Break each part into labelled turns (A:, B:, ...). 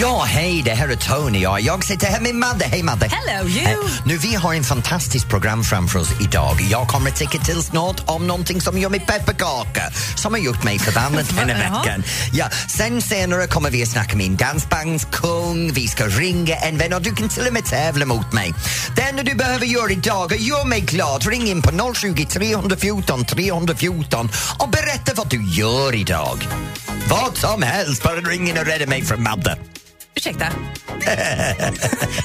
A: Ja, hej, det här är Tony. Ja, jag sitter här med Madde. Hej, Madde.
B: Hello you!
A: Eh, Nu, vi har en fantastisk program framför oss idag. Jag kommer att tycka till snart om någonting som gör mig pepparkaka som har gjort mig förbannad den här
B: Jaha.
A: veckan. Ja, sen senare kommer vi att snacka med en dansbandskung, vi ska ringa en vän och du kan till och med tävla mot mig. Det enda du behöver göra idag är att göra mig glad. Ring in på 020 314 314 och berätta vad du gör idag. Vad som helst, bara ring in och rädda mig från Madde.
B: Ursäkta.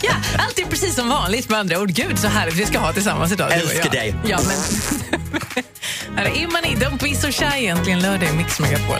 B: ja, allt är precis som vanligt med andra ord. Gud så härligt vi ska ha tillsammans idag. du och
A: Älskar
B: jag.
A: dig.
B: Ja, men... Här är man i Don't be so shy egentligen lördag i Mix Megapol.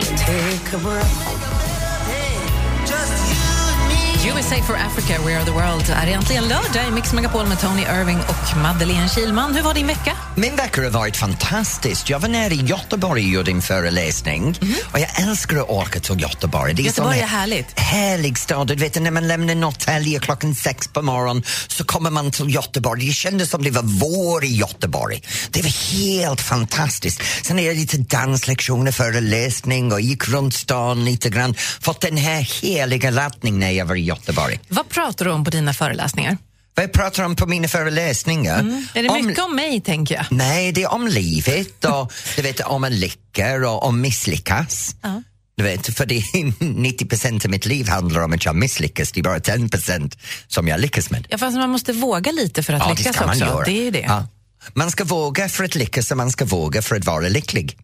B: USA for Africa, we are the world. Är egentligen lördag i Mix Megapol med Tony Irving och Madeleine Kilman. Hur var din vecka?
A: Min vecka har varit fantastisk. Jag var nere i Göteborg och gjorde en föreläsning och jag älskar att åka till Göteborg. Det
B: Mhm. Göteborg
A: sån
B: är härligt.
A: Härlig stad. Du vet, när man lämnar Norrtälje klockan sex på morgonen så kommer man till Göteborg. Det kändes som det var vår i Göteborg. Det var helt fantastiskt. Sen är det lite danslektioner, föreläsning och gick runt stan lite grann. Fått den här heliga laddningen när jag var i Göteborg.
B: Vad pratar du om på dina föreläsningar?
A: Vad jag pratar om på mina föreläsningar?
B: Mm. Är det
A: Om-
B: mycket om mig, tänker jag?
A: Nej, det är om livet och du vet, om man lyckas och om misslyckas.
B: Ja.
A: Du vet, för det är 90 procent av mitt liv handlar om att jag misslyckas. Det är bara 10 procent som jag lyckas med.
B: Ja, fast man måste våga lite för att lyckas också. Det är ju det. Ja.
A: Ja. Man ska våga för att lyckas och man ska våga för att vara lycklig.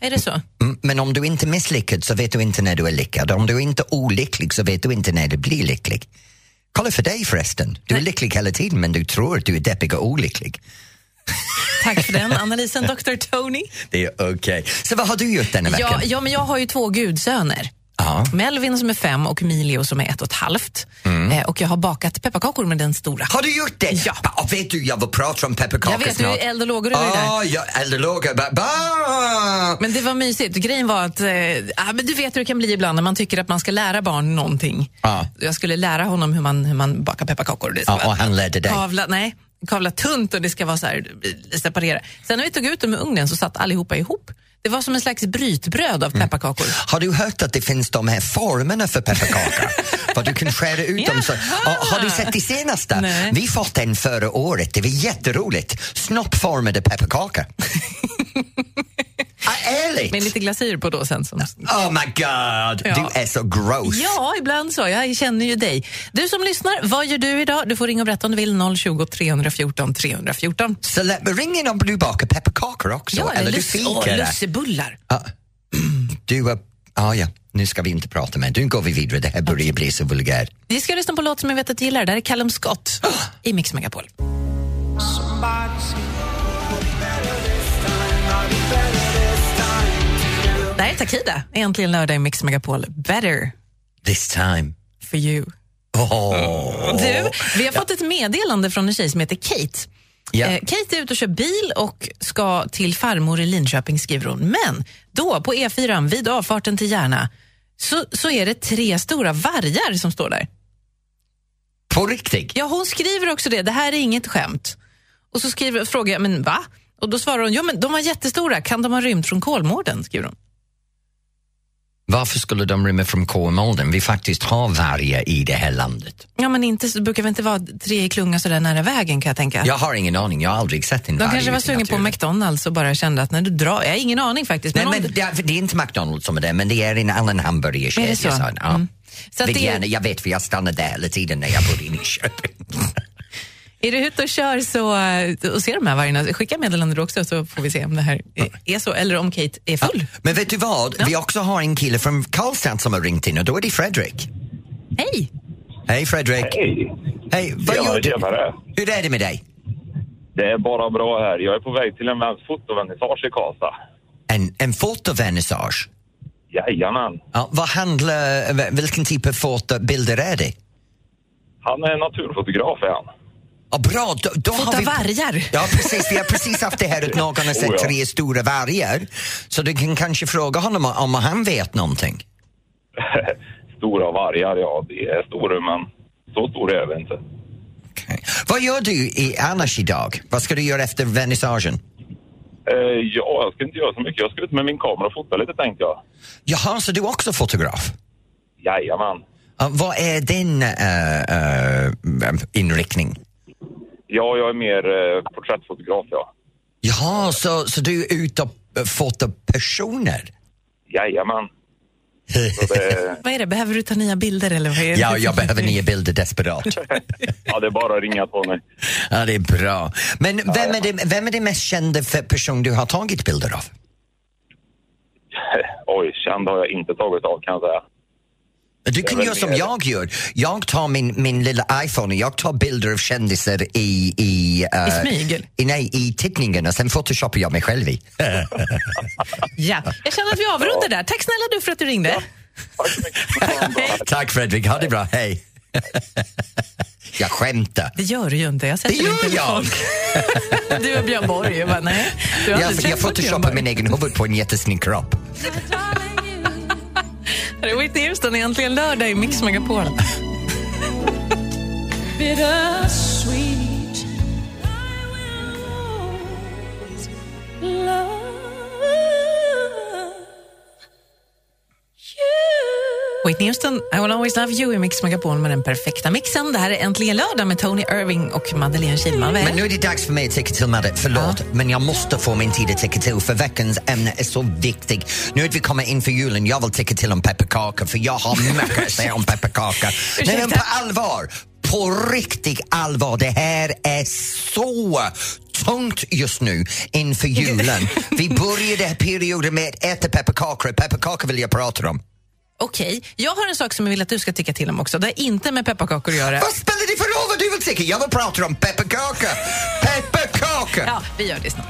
B: är det så?
A: Mm, Men om du inte misslyckas så vet du inte när du är lyckad. Om du inte är olycklig så vet du inte när du blir lycklig. Kolla för dig förresten. Du är lycklig hela tiden men du tror att du är deppig och olycklig.
B: Tack för den analysen, Dr. Tony.
A: Det är okej. Så vad har du gjort denna veckan?
B: Ja, ja, men jag har ju två gudsöner.
A: Ja.
B: Melvin som är fem och Emilio som är ett och ett halvt. Eh, och jag har bakat pepparkakor med den stora.
A: Mm. Har du gjort det?
B: Ja.
A: Ba- och vet du, jag vill prata om pepparkakor
B: Jag vet, du är
A: snart.
B: eld och lågor, eller hur det är?
A: Ja, jag- eld och lågor. Ba- ba-
B: Men det var mysigt. Grejen var att, eh, ah, men du vet hur det kan bli ibland när man tycker att man ska lära barn någonting.
A: Ja.
B: Jag skulle lära honom hur man, hur man bakar pepparkakor. Det ska
A: Ja,
B: vara
A: och han lärde dig.
B: Kavla, nej, kavla tunt och det ska vara så här, eh, separera. Sen när vi tog ut dem ur ugnen så satt allihopa ihop. Det var som en slags brytbröd av
A: Mm.
B: pepparkakor.
A: Har du hört att det finns de här formerna för pepparkakor? Vad du kan skära ut dem. Så.
B: Jaha!
A: Och, har du sett det senaste?
B: Nej.
A: Vi fått en förra året. Det var jätteroligt. Snoppformade pepparkakor. ah, ärligt?
B: Med lite glasyr på då sen. Som...
A: Oh my god,
B: Ja.
A: du är så gross.
B: Ja, ibland så. Jag känner ju dig. Du som lyssnar, vad gör du idag? Du får ringa och berätta om du vill. 020 314 314.
A: Så lä- ring in om du bakar pepparkakor också.
B: Ja,
A: eller du
B: luss-
A: fikar.
B: och
A: det.
B: lussebullar.
A: Du, är- ah, ja, nu ska vi inte prata mer. Nu går vi vidare, det här börjar bli så vulgärt.
B: Vi ska lyssna på en låt som jag vet att du gillar. Det här är Callum Scott i Mix Megapol. Det här är Takida. Äntligen lördag i Mix Megapol. Better
A: This time.
B: for you.
A: Åh.
B: Du, vi har fått ett meddelande från en tjej som heter Kate.
A: Ja.
B: Eh, Kate är ute och kör bil och ska till farmor i Linköping, skriver hon. Men då, på E4 vid avfarten till Järna, så, så är det tre stora vargar som står där.
A: På riktigt?
B: Ja, hon skriver också det. Det här är inget skämt. Och så skriver, frågar jag, men va? Och då svarar hon, ja men de var jättestora. Kan de ha rymt från Kolmården? Skriver hon.
A: Varför skulle de rymma från Kolmården? Vi faktiskt har vargar i det här landet.
B: Ja, men inte, det brukar väl inte vara tre i klunga så där nära vägen kan jag tänka.
A: Jag har ingen aning, jag har aldrig sett en
B: De
A: varg.
B: kanske var
A: ute i
B: sugna på
A: naturen.
B: McDonalds och bara kände att när du drar, jag har ingen aning faktiskt.
A: Nej,
B: om
A: men
B: du-
A: det, är- det är inte McDonalds som är det, men det är en annan hamburgerkedja.
B: Är det så?
A: sa han. Ja.
B: Mm. Så att
A: Vill
B: det är-
A: gärna, jag vet, för jag stannade där hela tiden när jag bodde i Nyköping.
B: Är du ute och kör så, eh, och ser de här vargarna, skicka meddelande du också så får vi se om det här eh, är så eller om Kate är full.
A: Men vet du vad? Vi också har en kille från Karlstad som har ringt in och då är det Fredrik.
B: Hej!
A: Hej Fredrik!
C: Hej!
A: Hej, vad
C: Ja,
A: gör du?
C: tjenare.
A: Hur är det med dig?
C: Det är bara bra här. Jag är på väg till en väns fotovernissage i Karlstad.
A: En, en fotovernissage?
C: Jajamän.
A: Ja, vad handlar, vilken typ av fotobilder är det?
C: Han är naturfotograf är han.
A: Och bra, då, då
B: Fota
A: har vi...
B: vargar.
A: Ja, precis. Vi har precis haft det här att någon har sett
C: Oh, ja.
A: tre stora vargar. Så du kan kanske fråga honom om han vet någonting.
C: Stora vargar, ja, det är stora, men så stora är vi inte.
A: Okej. Vad gör du i, annars idag? Vad ska du göra efter vernissagen?
C: Eh, ja, jag ska inte göra så mycket. Jag ska ut med min kamera och fota lite, tänkte jag.
A: Jaha, så du är också fotograf?
C: Jajamän.
A: Ja, vad är din eh, eh, inriktning?
C: Ja, jag är mer eh, porträttfotograf, ja.
A: Jaha, så, så du är ute och eh, fotar personer?
C: Jajamän. Så det,
B: Vad är det, behöver du ta nya bilder eller vad är det?
A: Ja, jag behöver nya bilder desperat.
C: ja, det är bara att ringa på mig.
A: Ja, det är bra. Men vem är, det, vem är det mest kända för person du har tagit bilder av?
C: Oj, känd har jag inte tagit av, kan jag säga.
A: Du kan
C: väl
A: göra som
C: mer-
A: jag gör. Jag tar min, min lilla iPhone och jag tar bilder av kändisar i... I, eh,
B: I smyg?
A: i nej, i tittningen och sen photoshoppar jag mig själv i.
B: Ja. Jag känner att vi avrundar där. Tack snälla du för att du ringde.
C: Tack så mycket.
A: Tack Fredrik, ha det bra, hej. jag skämtar.
B: Det gör du ju inte. Jag
A: Det
B: sätter
A: gör
B: inte
A: jag!
B: Du och Björn Borg. Jag bara, nej. Du har
A: Jag,
B: aldrig
A: jag
B: träffat Björn
A: photoshoppar
B: Borg.
A: min egen huvud på en jättesnygg kropp.
B: Här är Whitney Houston, äntligen lördag i Mix Megapol. Whitney Houston, I will always love you i Mix Megapol med den perfekta mixen. Det här är Äntligen lördag med Tony Irving och Madeleine Kihlman. Vad är
A: Men
B: det?
A: nu är det dags för mig att ticka till Madde. Förlåt, men jag måste få min tid att ticka till för veckans ämne är så viktigt. Nu att vi kommer in för julen, jag vill ticka till om pepparkakor för jag har mycket att säga om pepparkakor. Nej men på allvar, på riktigt allvar, det här är så tungt just nu inför julen. Vi började den här perioden med att äta pepparkakor. Pepparkakor vill jag prata om.
B: Okej, jag har en sak som jag vill att du ska tycka till om också. Det har inte med pepparkakor att göra.
A: Vad spelar det för roll vad du vill ticka? Jag vill prata om pepparkakor. Pepparkakor!
B: Ja, vi gör det snart.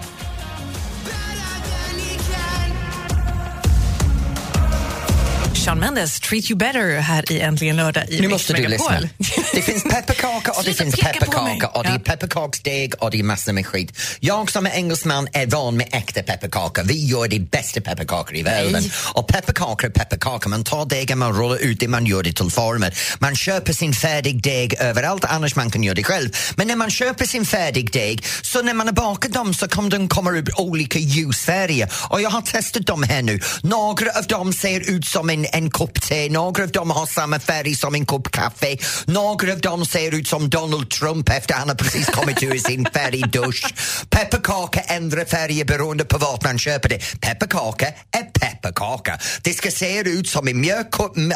B: Sean Mendes, Treat You Better här i Äntligen lördag i
A: Nu
B: Mix
A: måste du
B: Megapol.
A: lyssna. Det finns pepparkaka och det
B: Sluta
A: finns
B: peka på mig.
A: pepparkaka och det är
B: Ja.
A: pepparkaksdeg och det är massor med skit. Jag som är engelsman är van med äkta pepparkaka. Vi gör de bästa pepparkakor i världen. Och pepparkakor är pepparkakor. Man tar degen, man rullar ut det, man gör det till former. Man köper sin färdig deg överallt, annars man kan göra det själv. Men när man köper sin färdig deg, så när man har bakat dem så kommer de komma upp olika ljusfärger. Och jag har testat dem här nu. Några av dem ser ut som en, en kopp te, några av dem har samma färg som en kopp kaffe, några av dem ser ut som Donald Trump efter han har precis kommit ur sin färgdusch. Pepparkaka ändrar färger beroende på vart man köper det. Pepparkaka är pepparkaka. Det ska se ut som en, mjölk,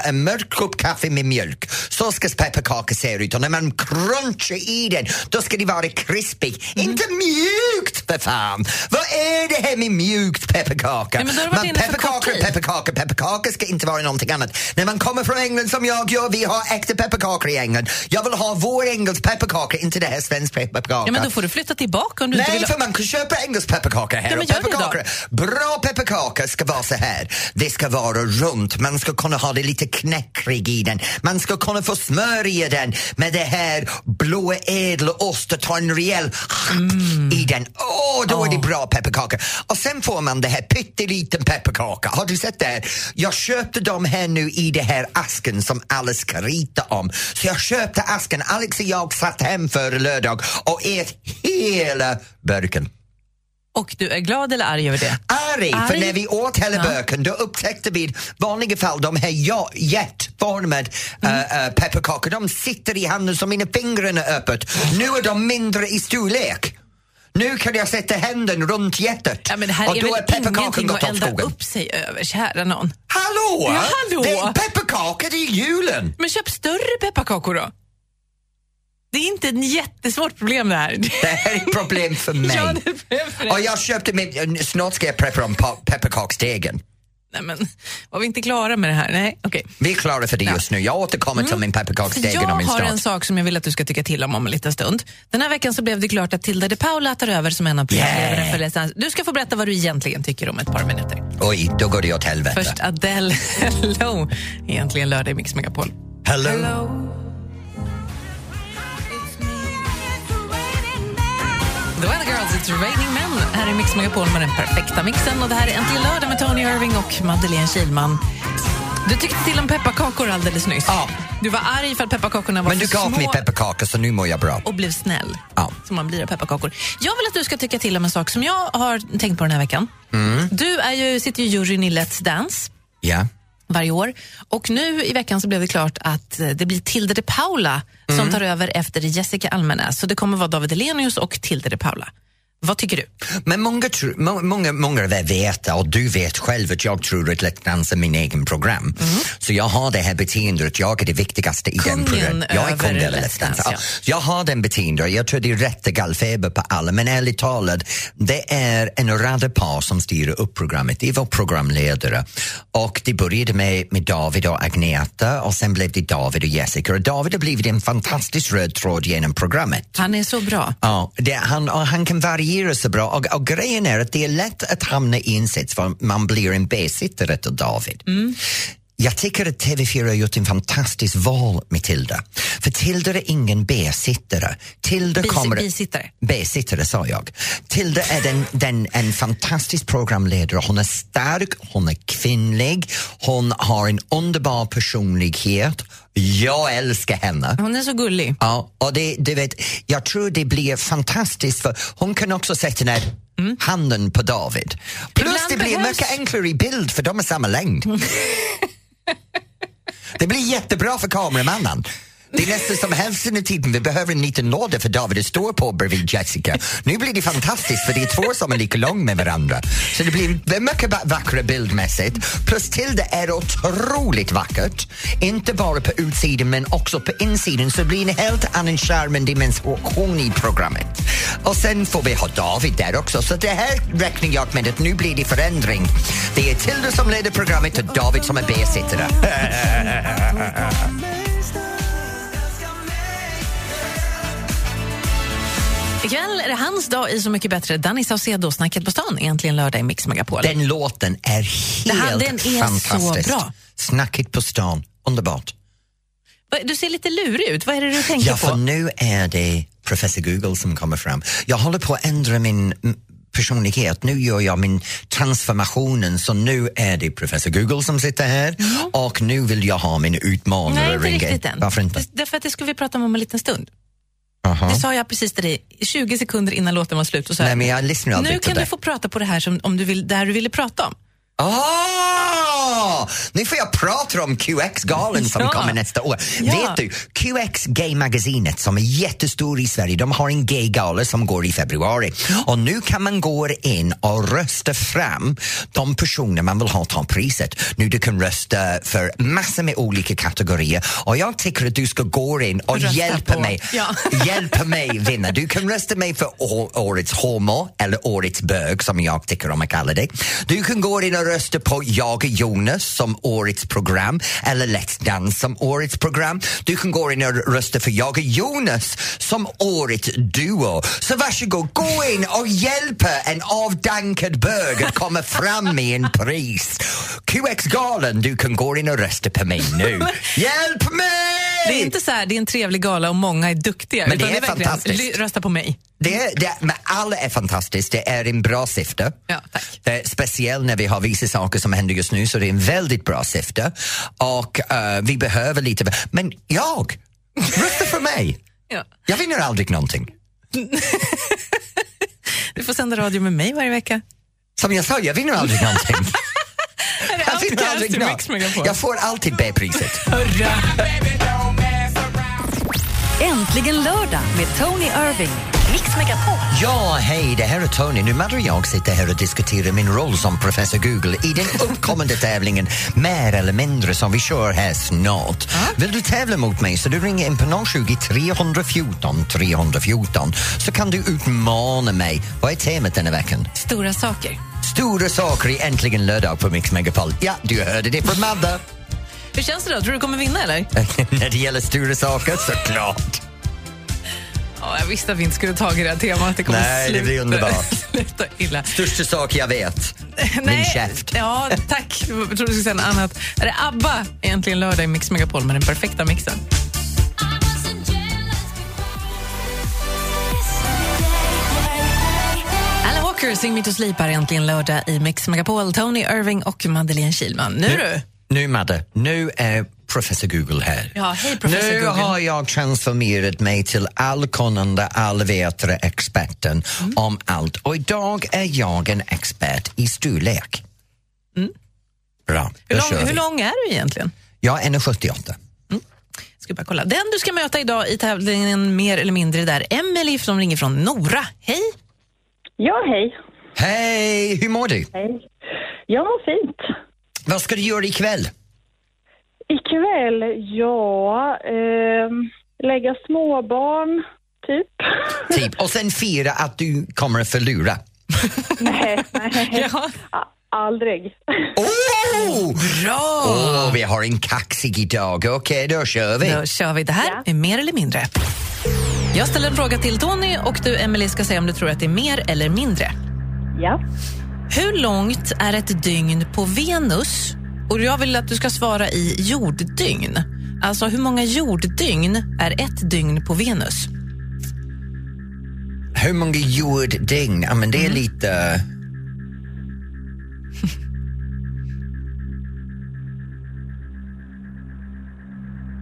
A: en mörk kopp kaffe med mjölk. Så ska pepparkaka se ut och när man crunchar i den då ska det vara krispig,
B: Mm.
A: inte mjukt för fan! Vad är det här med mjukt pepparkaka?
B: Nej, men då har du varit
A: Men
B: inne för kort
A: pepparkakor,
B: tid.
A: pepparkakor, pepparkakor ska inte vara någonting annat. När man kommer från England som jag gör, vi har äkta pepparkakor i England. Jag vill ha vår engelsk pepparkaka, inte det här svensk pepparkaka.
B: Ja, men då får du flytta tillbaka om du inte
A: Nej,
B: vill...
A: för man kan köpa engelsk pepparkaka här.
B: Ja, men
A: och
B: gör det då.
A: pepparkakor, bra pepparkaka ska vara så här. Det ska vara runt, man ska kunna ha det lite knäckrig i den. Man ska kunna få smör i den med det här blåa ädelost och ta en rejäl
B: Mm.
A: i den. Åh, då är det bra pepparkaka. Och sen får man det här pytteliten pepparkaka. Har du sett det här? Jag köpte dem här nu i det här asken som alla ska rita om. Så jag köpte asken. Alex och jag satt hem före lördag och ät hela burken
B: Och du är glad eller arg över det?
A: arg, för
B: Arg?
A: när vi åt hela burken då upptäckte vi i vanliga fall de här ja- hjärtformade mm. pepparkakor, de sitter i handen som mina fingrarna är öppet. Nu är de mindre i storlek. Nu kan jag sätta händen runt hjärtat
B: Ja, men det här
A: och
B: är
A: då
B: väl
A: är pepparkakan
B: ingenting
A: gått
B: att
A: åt
B: elda
A: skogen.
B: upp sig över, kära någon.
A: Hallå!
B: Ja, hallå!
A: Det är pepparkakor, det är julen!
B: Men köp större pepparkakor då. Det är inte ett jättesvårt problem det här.
A: Det här är ett problem för mig.
B: Ja, det är för
A: och jag köpte min, eh, snart ska jag preppa om pa- pepparkaksdegen.
B: Nej, men var vi inte klara med det här? Nej, okej.
A: Vi är klara för det just nu. Jag återkommer till min
B: Mm. Jag
A: pepparkaksdegen om en
B: har
A: stund.
B: en sak som jag vill att du ska tycka till om om en liten stund. Den här veckan så blev det klart att Tilda de Paula tar över som en av programledarna
A: Yeah.
B: för Let's Dance. Du ska få berätta vad du egentligen tycker om ett par minuter.
A: Oj, då går det åt helvete.
B: Först Adele, Hello, egentligen lördag i Mix Megapol.
A: Hello.
B: Hello. The Weather Girls, It's Raining Men. Här är Mix Megapol med den perfekta mixen. Och Det här är Äntligen lördag med Tony Irving och Madeleine Kilman. Du tyckte till om pepparkakor alldeles nyss.
A: Ja.
B: Du var arg för att pepparkakorna var
A: Men du
B: för
A: gav
B: små
A: mig pepparkakor så nu mår jag bra.
B: och blev snäll.
A: Ja.
B: Som man blir av pepparkakor. Jag vill att du ska tycka till om en sak som jag har tänkt på den här veckan.
A: Mm.
B: Du är ju, sitter ju i juryn i Let's Dance
A: Ja.
B: varje år. Och nu i veckan så blev det klart att eh, det blir Tilde de Paula
A: Mm.
B: som tar över efter Jessica Almenäs. Så det kommer vara David Elenius och Tilde de Paula. Vad tycker du?
A: Men många, tr- må- många, många av er vet, och du vet själv, att jag tror att Lettlands är min egen program. Så jag har det här beteendet att jag är det viktigaste i
B: Mhm. Kungen
A: den programmet. Jag är
B: över
A: kung över
B: Let's
A: Let's Dance.
B: Dance,
A: Ja.
B: ja.
A: Jag har den beteendet, jag tror det är rätt gallfeber på alla, men ärligt talat, det är en radarpar som styr upp programmet. Det var programledare och det började med, med David och Agneta och sen blev det David och Jessica och David har blivit en fantastisk röd tråd genom programmet.
B: Han är så bra.
A: Ja, det, han, och han kan variera så bra och, och grejen är att det är lätt att hamna i en sits för man blir en besittare till David. Jag tycker att TV4 har gjort en fantastisk val med Tilda. För Tilda är ingen besittare. Tilda
B: Bis-
A: kommer...
B: bisittare.
A: Besittare sa jag. Tilda är den, den, en fantastisk programledare. Hon är stark, hon är kvinnlig, hon har en underbar personlighet. Jag älskar henne.
B: Hon är så gullig.
A: Ja, och det, du vet, jag tror det blir fantastiskt för hon kan också sätta ner handen på David. Plus
B: Mm. Ibland
A: det blir
B: behövs-
A: mycket enklare i bild för de är samma längd. det blir jättebra för kameramannen. Det är nästan som hälften av tiden vi behöver en liten låda för David att stå på bredvid Jessica. Nu blir det fantastiskt för det är två som är lika lång med varandra. Så det blir en mycket va- vackra bildmässigt. Plus Tilda är otroligt vackert. Inte bara på utsidan men också på insidan så det blir en helt annan charm och dimension i programmet. Och sen får vi ha David där också så det här räknar jag med att nu blir det förändring. Det är Tilda som leder programmet och David som är besittare.
B: Ikväll är det hans dag i Så mycket bättre. Danny Saucedo, Snacket på stan, äntligen lördag i Mix Megapol.
A: Den låten är
B: Det här-
A: helt
B: den är
A: fantastisk.
B: så bra.
A: Snacket på stan, underbart.
B: Va- Du ser lite lurig ut. Vad är det du tänker
A: Ja, för
B: på?
A: nu är det professor Google som kommer fram. Jag håller på att ändra min mm, personlighet. Nu gör jag min transformationen så nu är det professor Google som sitter här och nu vill jag ha min utmanare
B: Mm. Nej, inte
A: ringa in.
B: riktigt än.
A: Varför inte?
B: Det- Därför att det ska vi prata om om en liten stund.
A: Aha.
B: Det sa jag precis till dig 20 sekunder innan låten var slut. Och så här,
A: Nej, men jag lyssnar aldrig
B: nu
A: till
B: kan du
A: det.
B: få prata på det här som om du vill, det här du ville prata om.
A: Ah! Nu får jag prata om QX-galan som
B: Ja.
A: kommer nästa år.
B: Ja.
A: Vet du, QX Gay-magasinet som är jättestor i Sverige, de har en gay-gala som går i februari. Och nu kan man gå in och rösta fram de personer man vill ha ta priset. Nu du kan rösta för massor med olika kategorier och jag tycker att du ska gå in och
B: Rösta
A: hjälpa
B: på-
A: mig
B: Ja.
A: hjälpa mig vinna. Du kan rösta mig för å- årets homo eller årets bög som jag tycker om att kalla dig. Du kan gå in och rösta på jag och Jonas som årets program eller Let's Dance som årets program. Du kan gå in och rösta för jag och Jonas som årets duo. Så varsågod, gå in och hjälpa en avdankad bög att komma fram med en pris. QX-galan, du kan gå in och rösta på mig nu. Hjälp mig!
B: Det är inte så här, det är en trevlig gala och många är duktiga.
A: Men det
B: utan
A: är
B: verkligen,
A: fantastiskt.
B: "Ly- Rösta på mig.
A: Det, det, men alla är fantastiskt. Det är en bra syfte.
B: Ja, tack.
A: Eh, Speciellt när vi har vissa saker som händer just nu så det är en väldigt bra syfte. Och eh, vi behöver lite... Men jag! Rösta för mig!
B: Ja.
A: Jag vinner aldrig någonting.
B: Du får sända radio med mig varje vecka.
A: Som jag sa, jag vinner aldrig någonting. jag, vinner
B: outcast i
A: något.
B: Mix Megapol?
A: jag får alltid B-priset.
D: Äntligen lördag med Tony Irving. Mix Megapol.
A: Ja, hej, det här är Tony. Nu Madde och jag sitter här och diskuterar min roll som professor Google i den uppkommande tävlingen Mer eller mindre som vi kör här snart. Vill du tävla mot mig så du ringer in på 020 314 314 så kan du utmana mig. Vad är temat denna veckan?
B: Stora saker.
A: Stora saker i Äntligen lördag på Mix Megapol. Ja, du hörde det från Madde.
B: Hur känns det då? Tror du du kommer vinna eller?
A: När det gäller stora saker, såklart.
B: Ja, jag visste att vi inte skulle ta i det här temat. Det kommer
A: Nej, det blir
B: sluta-
A: underbart.
B: sluta illa.
A: Största sak jag vet. Min käft.
B: Ja, tack. Jag trodde du skulle säga något annat. Är det ABBA egentligen lördag i Mix Megapol med den perfekta mixen?
E: I wasn't jealous before.
B: Walker, Sing Me To Sleep, här äntligen lördag i Mix Megapol. Tony Irving och Madeleine Kilman. Nu du!
A: Nu Madde, nu är professor Google här.
B: Ja, hej, professor
A: nu
B: Google.
A: har jag transformerat mig till allkunnande, allvetare experten
B: Mm.
A: om allt. Och idag är jag en expert i storlek. Bra,
B: Mm. Hur
A: då kör
B: lång,
A: vi.
B: hur lång är du egentligen?
A: Jag är 1,78.
B: Ska bara kolla. Den du ska möta idag i tävlingen Mer eller mindre där, Emily som ringer från Nora. Hej!
E: Ja, hej.
A: Hej, hur mår du?
E: hej. Jag mår fint.
A: Vad ska du göra ikväll?
E: Ikväll, ja, ehm, lägga småbarn, typ.
A: Typ. Och sen fira att du kommer att förlora.
E: nej, nej,
B: Ja.
E: a- aldrig.
A: Oh!
B: Bra!
A: Åh, vi har en kaxig idag. Okej, då kör vi.
B: Då kör vi. Det här
E: Ja.
B: är mer eller mindre. Jag ställer en fråga till Tony och du, Emily ska säga om du tror att det är mer eller mindre.
E: Ja.
B: Hur långt är ett dygn på Venus? Och jag vill att du ska svara i jorddygn. Alltså hur många jorddygn är ett dygn på Venus?
A: Hur många jorddygn? Ja, men det är
B: Mm.
A: lite...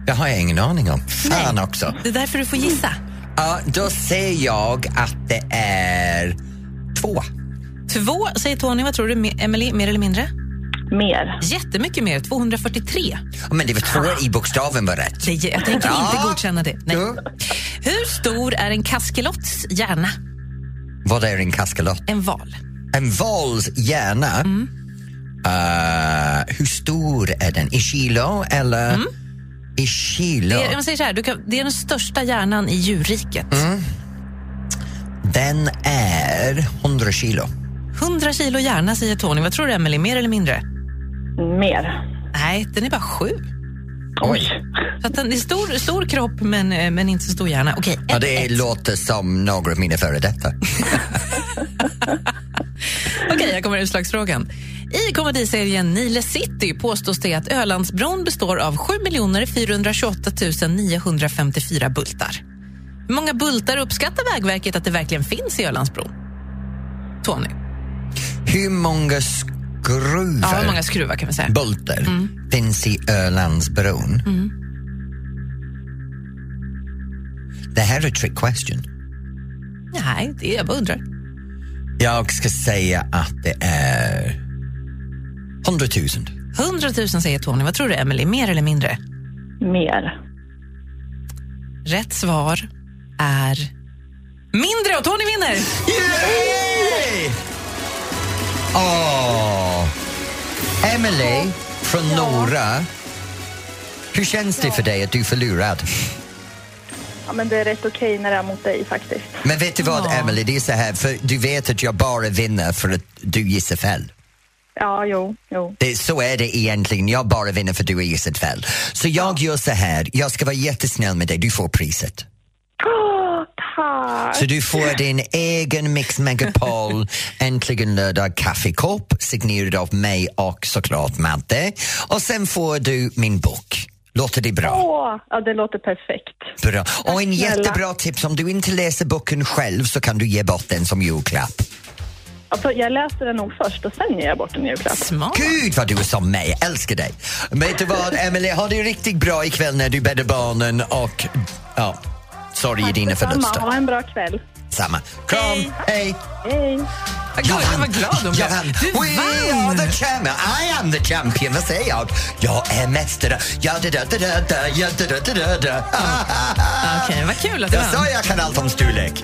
A: Det har jag ingen aning om. Fan också.
B: Det är därför du får gissa.
A: Ja, då säger jag att det är två.
B: Två, säger Tony. Vad tror du, Me- Emily? Mer eller mindre?
E: Mer.
B: Jättemycket mer. 243.
A: Ja, Men det var två i bokstaven var rätt.
B: Det, jag tänker inte
A: Ja.
B: godkänna det. Ah. Nej.
A: Ja.
B: Hur stor är en kaskelotts hjärna?
A: Vad är en kaskelot?
B: En val.
A: En vals hjärna.
B: Mm.
A: Eh, hur stor är den? I kilo eller? I kilo?
B: Mm. Det, är- man säger så här, du kan, det är den största hjärnan i djurriket.
A: Mm. Den är 100 kilo.
B: 100 kilo hjärna, säger Tony. Vad tror du, Emily? Mer eller mindre?
E: Mer.
B: Nej, den är bara sju.
A: Oj.
B: Så att den är stor, stor kropp men, eh, men inte så stor hjärna. Okej, eh,
A: Ja,
B: ett,
A: det
B: ett.
A: låter som några av mina före detta.
B: eh, Okej, här kommer utslagsfrågan. I komediserien Nile City påstås det att Ölandsbron består av 7 428 954 bultar. Hur många bultar uppskattar Vägverket att det verkligen finns i Ölandsbron? Tony?
A: Hur många skruvar,
B: Ja, hur många Mm. skruvar kan vi säga?
A: bultar, finns i Ölandsbron?
B: Mm.
A: Det här är en trick question.
B: Nej, det är jag bara undrar.
A: Jag ska säga att det är 100 000.
B: 100 000 säger Tony. Vad tror du, Emily? Mer eller mindre?
E: Mer.
B: Rätt svar är mindre och Tony vinner!
A: Yay! Åh! Emily från Nora. Hur känns det för dig att du är förlorad?
E: Ja, men det är rätt okej när det är mot dig faktiskt.
A: Men vet du vad,
B: Ja.
A: Emily, det är så här, för du vet att jag bara vinner för att du gissar fel.
E: Ja, jo, jo.
A: Det, så är det egentligen, jag bara vinner för att du har gissat fel. Så jag gör så här, jag ska vara jättesnäll med dig, du får priset.
E: Åh, tack!
A: Så du får din egen Mix Megapol Äntligen lördag kaffekopp signerad av mig och såklart Madde. Och sen får du min bok. Låter det bra?
E: Åh, ja, det låter perfekt.
A: Bra. Och en
E: snälla.
A: jättebra tips, om du inte läser boken själv så kan du ge bort den som julklapp.
E: Alltså, jag läser den nog först och sen ger jag bort en julklapp.
B: Smart.
A: Gud vad du är som mig, älskar dig. Vet du vad Emily, ha det riktigt bra ikväll när du bäddar barnen och ja, sorry i dina
E: Detsamma, ha
A: förluster.
E: en bra kväll.
A: Samma. Kram, hej.
E: Hej!
B: Vad glad- Vad glad
A: jag
B: hon blev.
A: vann.
B: Du
A: We are
B: vann!
A: the champion, I am the champion. Vad säger jag? Jag är mästare. Ja, da, da, da, da, da, ja, da, da, da, da, da. Ah, ah, ah.
B: Okej, vad kul att du
A: Jag
B: vann.
A: sa jag kan allt om storlek.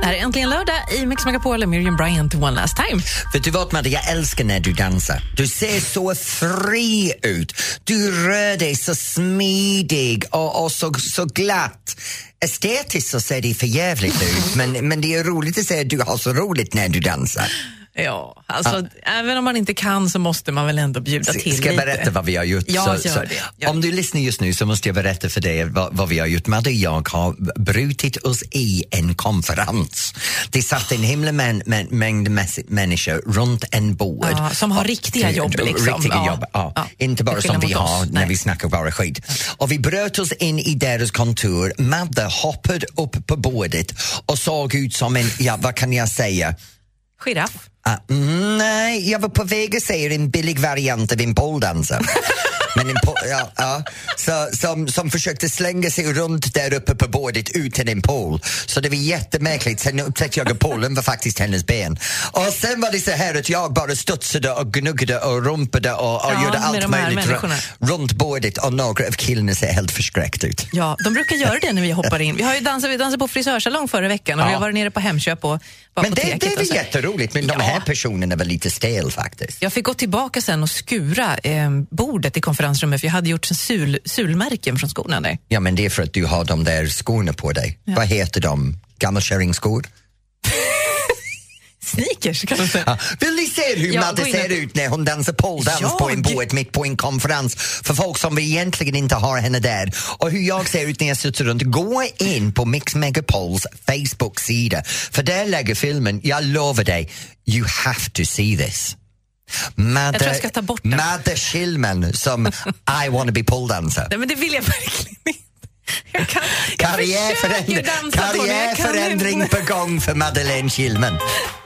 B: Det här är äntligen lördag i Mix Megapol och Miriam Bryant One Last Time.
A: Vet du vad Madde, jag älskar när du dansar. Du ser så fri ut. Du rör dig så smidig och, och så, så glatt. Estetiskt så ser det för jävligt ut men, men det är roligt att se att du har så roligt när du dansar.
B: Ja, alltså även om man inte kan så måste man väl ändå bjuda till
A: Ska jag
B: lite.
A: berätta vad vi har gjort?
B: Ja,
A: Så-
B: gör
A: så-
B: det. Gör
A: Om du lyssnar just nu så måste jag berätta för dig vad, vad vi har gjort. Madde och jag har brutit oss i en konferens. Det satt en himla män, män, mängd mäss- människor runt en bord.
B: Ja, som har riktiga jobb, liksom.
A: Riktiga
B: Ja.
A: jobb, ja.
B: Ja.
A: Inte bara
B: Till skillnad
A: som vi
B: mot
A: har
B: oss.
A: när
B: Nej.
A: vi snackar bara skit. Och vi bröt oss in i deras kontor. Madde hoppade upp på bordet och såg ut som en, ja vad kan jag säga,
B: Giraff.
A: Ah, mm, nej, jag var på väg att säga en billig variant av en poledancer. Men en po- ja, ja. Så, som, som försökte slänga sig runt där uppe på bordet utan en pol. Så det var jättemärkligt. Sen upptäckte jag att polen var faktiskt hennes ben. Och sen var det så här att jag bara studsade och gnuggade och rumpade och, och
B: Ja,
A: gjorde
B: med
A: allt
B: de här
A: möjligt
B: människorna.
A: ru- runt bordet och några av killarna ser helt förskräckt ut.
B: Ja, de brukar göra det när vi hoppar in. Vi har ju dansat, vi dansade på frisörsalong förra veckan och
A: Ja.
B: vi har varit nere på Hemköp och på
A: Men det,
B: apoteket.
A: det
B: och så.
A: var jätteroligt, men de
B: Ja.
A: här personerna var lite stel faktiskt.
B: Jag fick gå tillbaka sen och skura eh, bordet i konferensrummet för jag hade gjort sul, sulmärken från skorna där.
A: Ja, men det är för att du har de där skorna på dig. Vad heter de? Gammelkärringskor?
B: Sneakers kan man säga.
A: Ja. Vill ni se hur
B: Ja,
A: Madde
B: gå in
A: ser
B: och-
A: ut när hon dansar poledans
B: Ja,
A: på en
B: det-
A: båt mitt på en konferens för folk som egentligen inte har henne där? Och hur jag ser ut när jag sitter runt. Gå in på Mix Megapols Facebook-sida för där lägger filmen, jag lovar dig, you have to see this. Madde,
B: Jag tror jag ska ta bort den.
A: Madde Schillman som I wanna be poledancer.
B: Nej, men det vill jag verkligen inte. Jag, kan, jag försöker
A: Karriärförändring,
B: dansa på det. Jag kan
A: karriärförändring
B: inte.
A: på gång för Madeleine Kilman.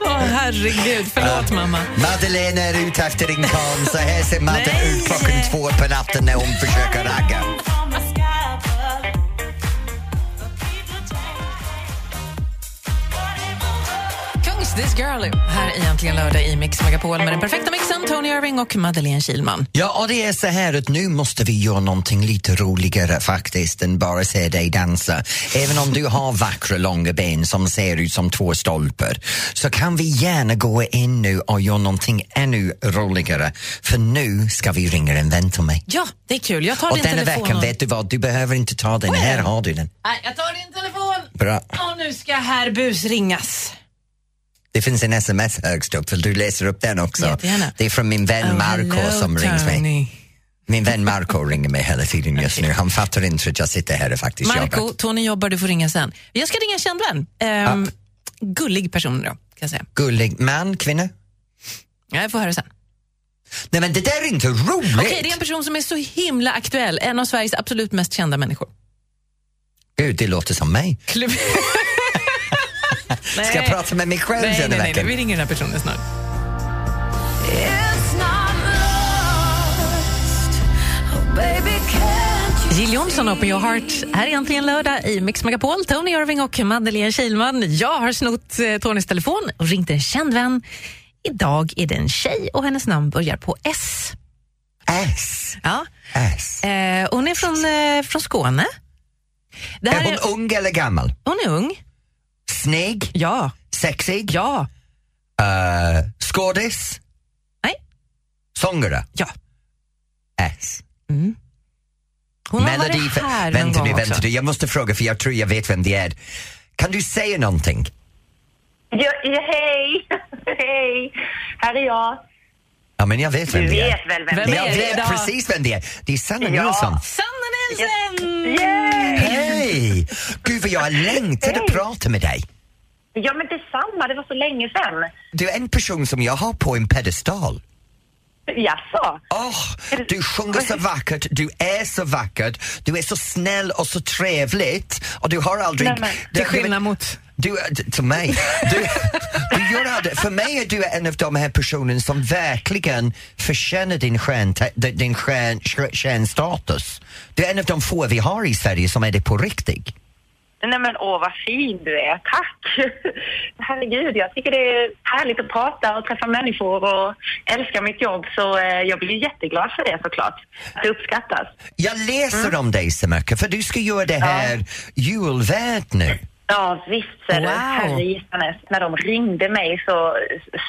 B: Åh, herregud. Förlåt, mamma.
A: Madeleine är ute efter en karl, så här ser Madde
B: Nej.
A: ut klockan två på natten när hon försöker ragga.
B: Kungs This Girl här i Äntligen lördag i Mix Megapol med den perfekta mixen Tony Irving och Madeleine Kilman.
A: Ja, och det är så här att nu måste vi göra någonting lite roligare faktiskt än bara se dig dansa. Även om du har vackra långa ben som ser ut som två stolpar så kan vi gärna gå in nu och göra någonting ännu roligare. För nu ska vi ringa en vän till mig.
B: Ja, det är kul. Jag tar
A: Och
B: din
A: denna
B: telefon.
A: veckan,
B: och-
A: vet du vad, du behöver inte ta den. Här har du den.
B: Nej, jag tar din telefon.
A: Bra.
B: Och nu ska här busringas.
A: Det finns en sms högst upp, vill du läser upp den också?
B: Jättegärna. Oh,
A: Det är från min vän Marco
B: hello,
A: som rings mig.
B: Tony.
A: Min vän Marco ringer mig hela tiden just nu. Han fattar inte att jag sitter här och faktiskt
B: Marco,
A: jobbar.
B: Tony jobbar, du får ringa sen. Jag ska ringa en känd vän. Ehm, Gullig person då, kan jag säga.
A: Gullig man, kvinna?
B: Ja, Jag får höra sen.
A: Nej men det där är inte roligt!
B: Okej, det är en person som är så himla aktuell. En av Sveriges absolut mest kända människor.
A: Gud, det låter som mig.
B: Klubb... nej.
A: Ska jag prata med mig själv
B: nej,
A: denna
B: nej, nej, nej,
A: veckan?
B: vi ringer den här personen snart. Jill Johnson, Open Your Heart. Här är äntligen lördag i Mix Megapol. Tony Irving och Madeleine Kilman. Jag har snott eh, Tonys telefon och ringt en känd vän. Idag är det en tjej och hennes namn börjar på S.
A: S.
B: Ja.
A: S.
B: Eh, hon är från, eh, från Skåne. Det
A: Är
B: här
A: hon
B: är,
A: ung eller gammal?
B: hon är ung.
A: Snygg?
B: Ja.
A: Sexig?
B: Ja.
A: Eh, skådis?
B: Nej.
A: Sångare?
B: Ja.
A: S.
B: Hon har
A: Melodi
B: varit
A: för,
B: här någon
A: vänta
B: gång
A: nu,
B: också.
A: vänta nu. Jag måste fråga för jag tror jag vet vem det är. Kan du säga någonting?
E: Ja, ja, hej! hej! Här är jag.
A: Ja, men jag vet vem
F: Du
A: det är.
F: vet väl vem
B: Vem
F: det
B: är
F: är?
A: jag
B: det
A: vet
B: idag?
A: precis vem det är. Det är Sanna
F: Ja.
A: Nilsson.
B: Sanna Nielsen!
F: Yay!
A: Hej! Gud vad jag längtade att prata med dig.
F: Ja men detsamma, det var så länge sedan.
A: Du är en person som jag har på en pedestal.
F: Jaså?
A: Åh, du sjunger så vackert, du är så vackert, du är så snäll och så trevligt och du har aldrig...
F: Nej, men,
A: du,
B: Till skillnad mot...
A: Du, eh, d- till mig. Du, du gör aldrig, för mig är du en av de här personerna som verkligen förtjänar din, stjärn, din stjärn, stjär- stjärnstatus. Du är en av de få vi har i Sverige som är det på riktigt.
F: Nej men åh vad fin du är, tack! Herregud, jag tycker det är härligt att prata och träffa människor och älskar mitt jobb så eh, jag blir jätteglad för det såklart. Att det uppskattas.
B: Mm.
A: Jag läser om dig så mycket för du ska göra det här julvärd nu.
F: Ja, visst ser du.
B: Wow.
F: Herregissanes. När de ringde mig så,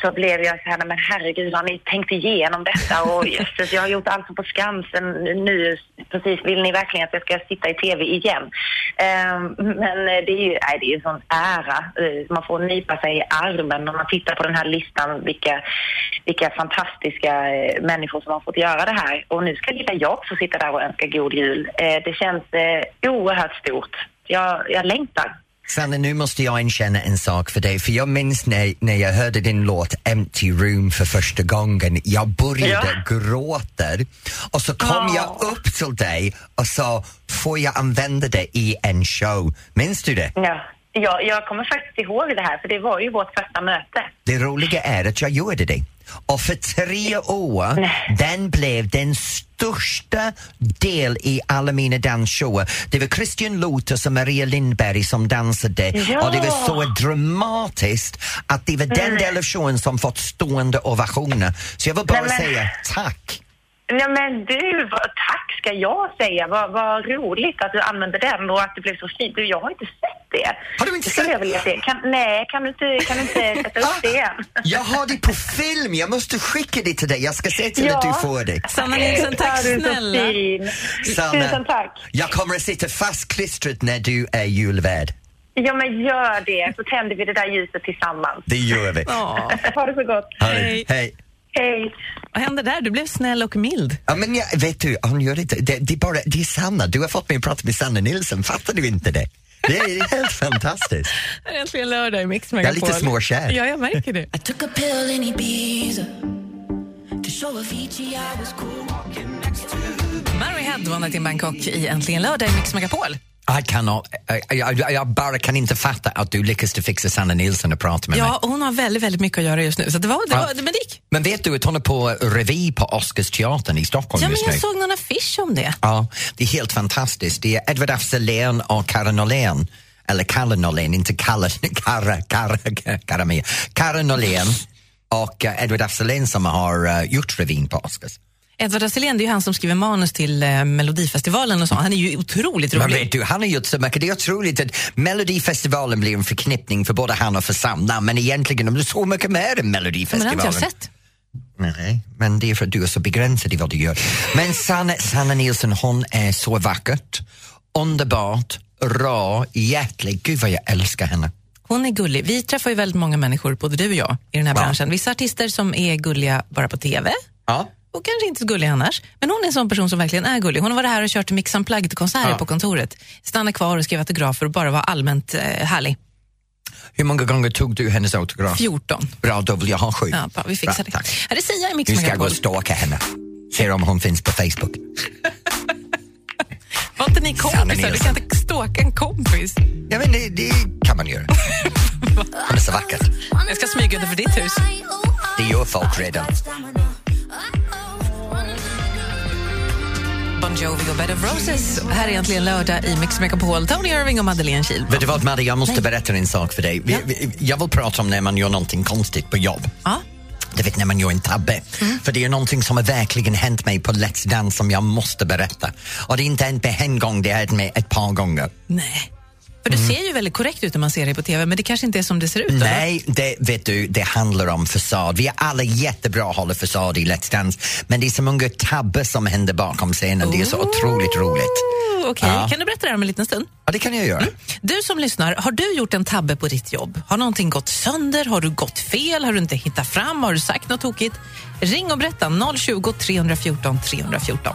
F: så blev jag så här, men herregud, har ni tänkt igenom detta? Och jösses, jag har gjort Allsång på Skansen nu. Precis, vill ni verkligen att jag ska sitta i tv igen? Ehm, men eh, det är ju nej, det är ju en sån ära. Eh, man får nypa sig i armen när man tittar på den här listan, vilka, vilka fantastiska eh, människor som har fått göra det här. Och nu ska lilla jag också sitta där och önska god jul. Eh, det känns eh, oerhört stort. Jag, jag längtar.
A: Sanna, nu måste jag erkänna en sak för dig, för jag minns när, när jag hörde din låt Empty Room för första gången. Jag började gråta och så kom jag upp till dig och sa, får jag använda det i en show? Minns du det?
F: Ja. Ja, jag kommer faktiskt ihåg det här, för det var ju vårt första möte.
A: Det roliga är att jag gjorde det. Och för tre år, den blev den största del i alla mina dansshower. Det var Christian Lotus och Maria Lindberg som dansade
F: Ja. Mm.
A: och det var så dramatiskt att det var den del av showen som fått stående ovationer. Så jag vill bara
F: Nej, men-
A: säga tack.
F: Ja, men du, vad, tack ska jag säga. Vad, vad roligt att du använde den och att det blev så fint. Du, jag har inte sett det.
A: Har du inte
F: Det skulle
A: sett-
F: jag vilja se. Kan, nej, kan du inte, kan du inte sätta upp det igen?
A: Jag har det på film, jag måste skicka det till dig. Jag ska se till att
F: Ja.
A: du får det.
B: Sanna Nilsson, tack
F: Du är så
B: snälla.
F: fin.
A: Sanna,
F: Tusen tack.
A: eh, Jag kommer att sitta fastklistrad när du är julvärd.
F: Ja, men gör det. Så tänder vi det där ljuset tillsammans.
A: Det gör vi.
B: Ja.
F: Ha det så gott.
A: Ha det.
B: Hej.
A: Hej.
F: Hej.
B: Vad hände där? Du blev snäll och mild.
A: Ja, men jag, vet du, hon gör inte, det, det, är bara, det är Sanna. Du har fått mig att prata med Sanna Nilsson. Fattar du inte det? Det är, det är helt fantastiskt.
B: Det är äntligen lördag i Mix
A: är
B: Megapol.
A: lite småkär.
B: Ja, jag märker det. Mary Head var till Bangkok i Äntligen lördag i Mix Megapol.
A: Jag, kan, jag, jag, jag bara kan inte fatta att du lyckas till fixa Sanna Nilsson att prata med mig.
B: Ja, och hon har väldigt, väldigt mycket att göra just nu. Så det var, det
A: Ja.
B: var, men det gick.
A: Men vet du att hon är på revy på Oscarsteatern i Stockholm
B: Ja, men
A: just nu?
B: jag såg någon affisch om det.
A: Ja, det är helt fantastiskt. Det är Edward af Sillén och Karin Norlén. Eller Kalle Norlén, inte Kalle, Karra, Karra, Karra Mia. Karin Norlén och eh, Edward af Sillén som har eh, gjort revyn på Oscars.
B: Edward af Sillén, det är ju han som skriver manus till eh, Melodifestivalen och så. Han är ju otroligt rolig.
A: Men vet du, han har gjort så mycket. Det är otroligt att Melodifestivalen blir en förknippning för både han och för Sanna. Men egentligen, de är så mycket mer än
B: men det har
A: Melodifestivalen.
B: inte jag sett.
A: Nej, men det är för att du är så begränsad i vad du gör. Men Sanna, Sanna Nilsson, hon är så vackert, underbart, rå, hjärtlig. Gud vad jag älskar henne.
B: Hon är gullig. Vi träffar ju väldigt många människor, både du och jag, i den här
A: Ja.
B: branschen. Vissa artister som är gulliga bara på TV
A: Ja.
B: och kanske inte så gulliga annars. Men hon är en sån person som verkligen är gullig. Hon har varit här och kört Mix Unplugged-konserter på kontoret. Stannar kvar och skriver autografer och bara var allmänt eh, härlig.
A: Hur många gånger tog du hennes autograf?
B: 14.
A: Bra, då vill jag ha sju.
B: Ja, bra, vi fixar
A: Bra,
B: det.
A: Tack.
B: Här är Sia i Mix
A: Nu ska jag gå
B: Megapol.
A: och stalka henne. Se om hon finns på Facebook.
B: Var inte ni
A: Sanna
B: kompisar? Du
A: Nilsson.
B: kan inte stalka en kompis.
A: Ja, men det, det kan man göra. Hon är så vacker.
B: Jag ska smyga utanför ditt hus.
A: Det gör folk redan.
B: Bon Jovi och Bed of Roses. Här är egentligen lördag i Mix Megapol. Tony Irving och Madeleine Kihlman.
A: Vet du vad, Madde, jag måste berätta en sak för dig. Vi, vi, jag vill prata om när man gör någonting konstigt på jobb.
B: Ja.
A: Du vet när man gör en tabbe. För det är någonting som har verkligen hänt mig på Let's Dance som jag måste berätta. Och det är inte hänt mig en gång, det har hänt mig ett par gånger.
B: Nej. För du ser ju väldigt korrekt ut när man ser dig på TV, men det kanske inte är som det ser ut. eller?
A: Mm. Nej, det, vet du, det handlar om fasad. Vi är alla jättebra att hålla fasad i Let's Dance. Men det är så många tabbar som händer bakom scenen. Det är så otroligt roligt.
B: Oh, Okej,
A: Ja.
B: kan du berätta det här om en liten stund?
A: Ja, det kan jag göra.
B: Du som lyssnar, har du gjort en tabbe på ditt jobb? Har någonting gått sönder? Har du gått fel? Har du inte hittat fram? Har du sagt något tokigt? Ring och berätta 020 314 314.